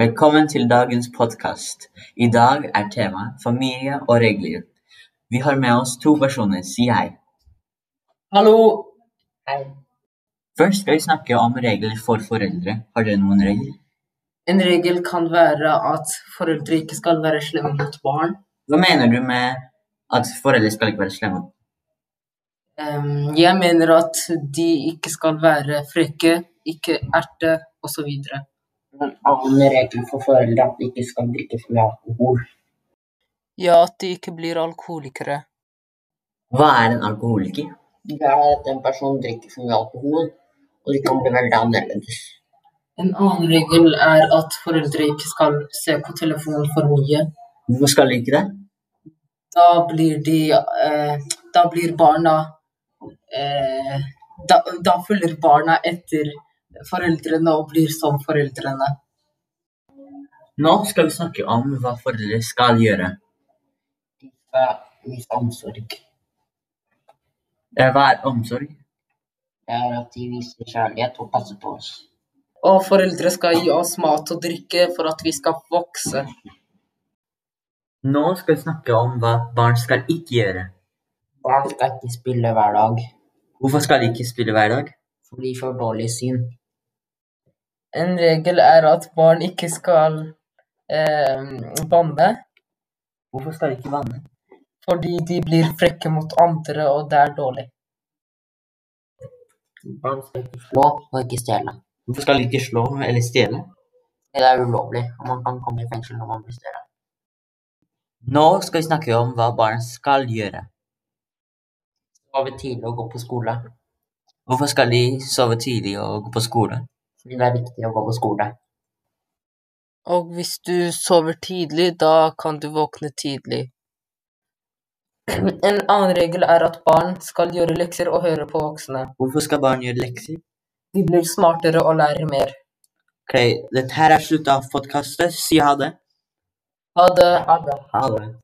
Velkommen til dagens podkast. I dag er temaet familie og regler. Vi har med oss to personer, si hei. Hallo! Hei. Først skal vi snakke om regler for foreldre. Har dere noen regler? En regel kan være at foreldre ikke skal være slemme mot barn. Hva mener du med at foreldre skal ikke være slemme? Ehm, Jeg mener at de ikke skal være frekke, ikke erte osv. en annen regel for foreldre at det ikke skal drikkes mye alkohol. Ja, at de ikke blir alkoholikere. Hva er en alkoholiker? Det er at en person drikker for mye alkohol, og de kan bli veldig annerledes. En annen regel er at foreldre ikke skal se på telefonen for mye. Hvorfor skal de ikke det? Da blir de eh, Da blir barna eh, da, da følger barna etter foreldrene og blir som foreldrene. Nå skal vi snakke om hva foreldre skal gjøre. De skal vise omsorg. Eh, Hva er omsorg? Det er at de viser kjærlighet og passer på oss. Og foreldre skal gi oss mat og drikke for at vi skal vokse. Nå skal vi snakke om hva barn skal ikke gjøre. Barn skal ikke spille hver dag, Hvorfor skal de ikke spille hver dag? for de får dårlig syn. En regel er at barn ikke skal eh, banne, Hvorfor skal de ikke vanne? fordi de blir frekke mot andre, og det er dårlig. Barn skal ikke slå og ikke stjele. Hvorfor skal de ikke slå eller stjele? Det er ulovlig, og man kan komme i fengsel når man blir større. Nå skal vi snakke om hva barn skal gjøre. Sove tidlig og gå på skole, Hvorfor skal de sove tidlig og gå på skole? fordi det er viktig å gå på skole. Og hvis du sover tidlig, da kan du våkne tidlig. En annen regel er at barn skal gjøre lekser og høre på voksne. Hvorfor skal barn gjøre lekser? De blir smartere og lærer mer. Ok, dette her er slutt av podkastet. Si ha det. Ha det. Ha det. Ha det.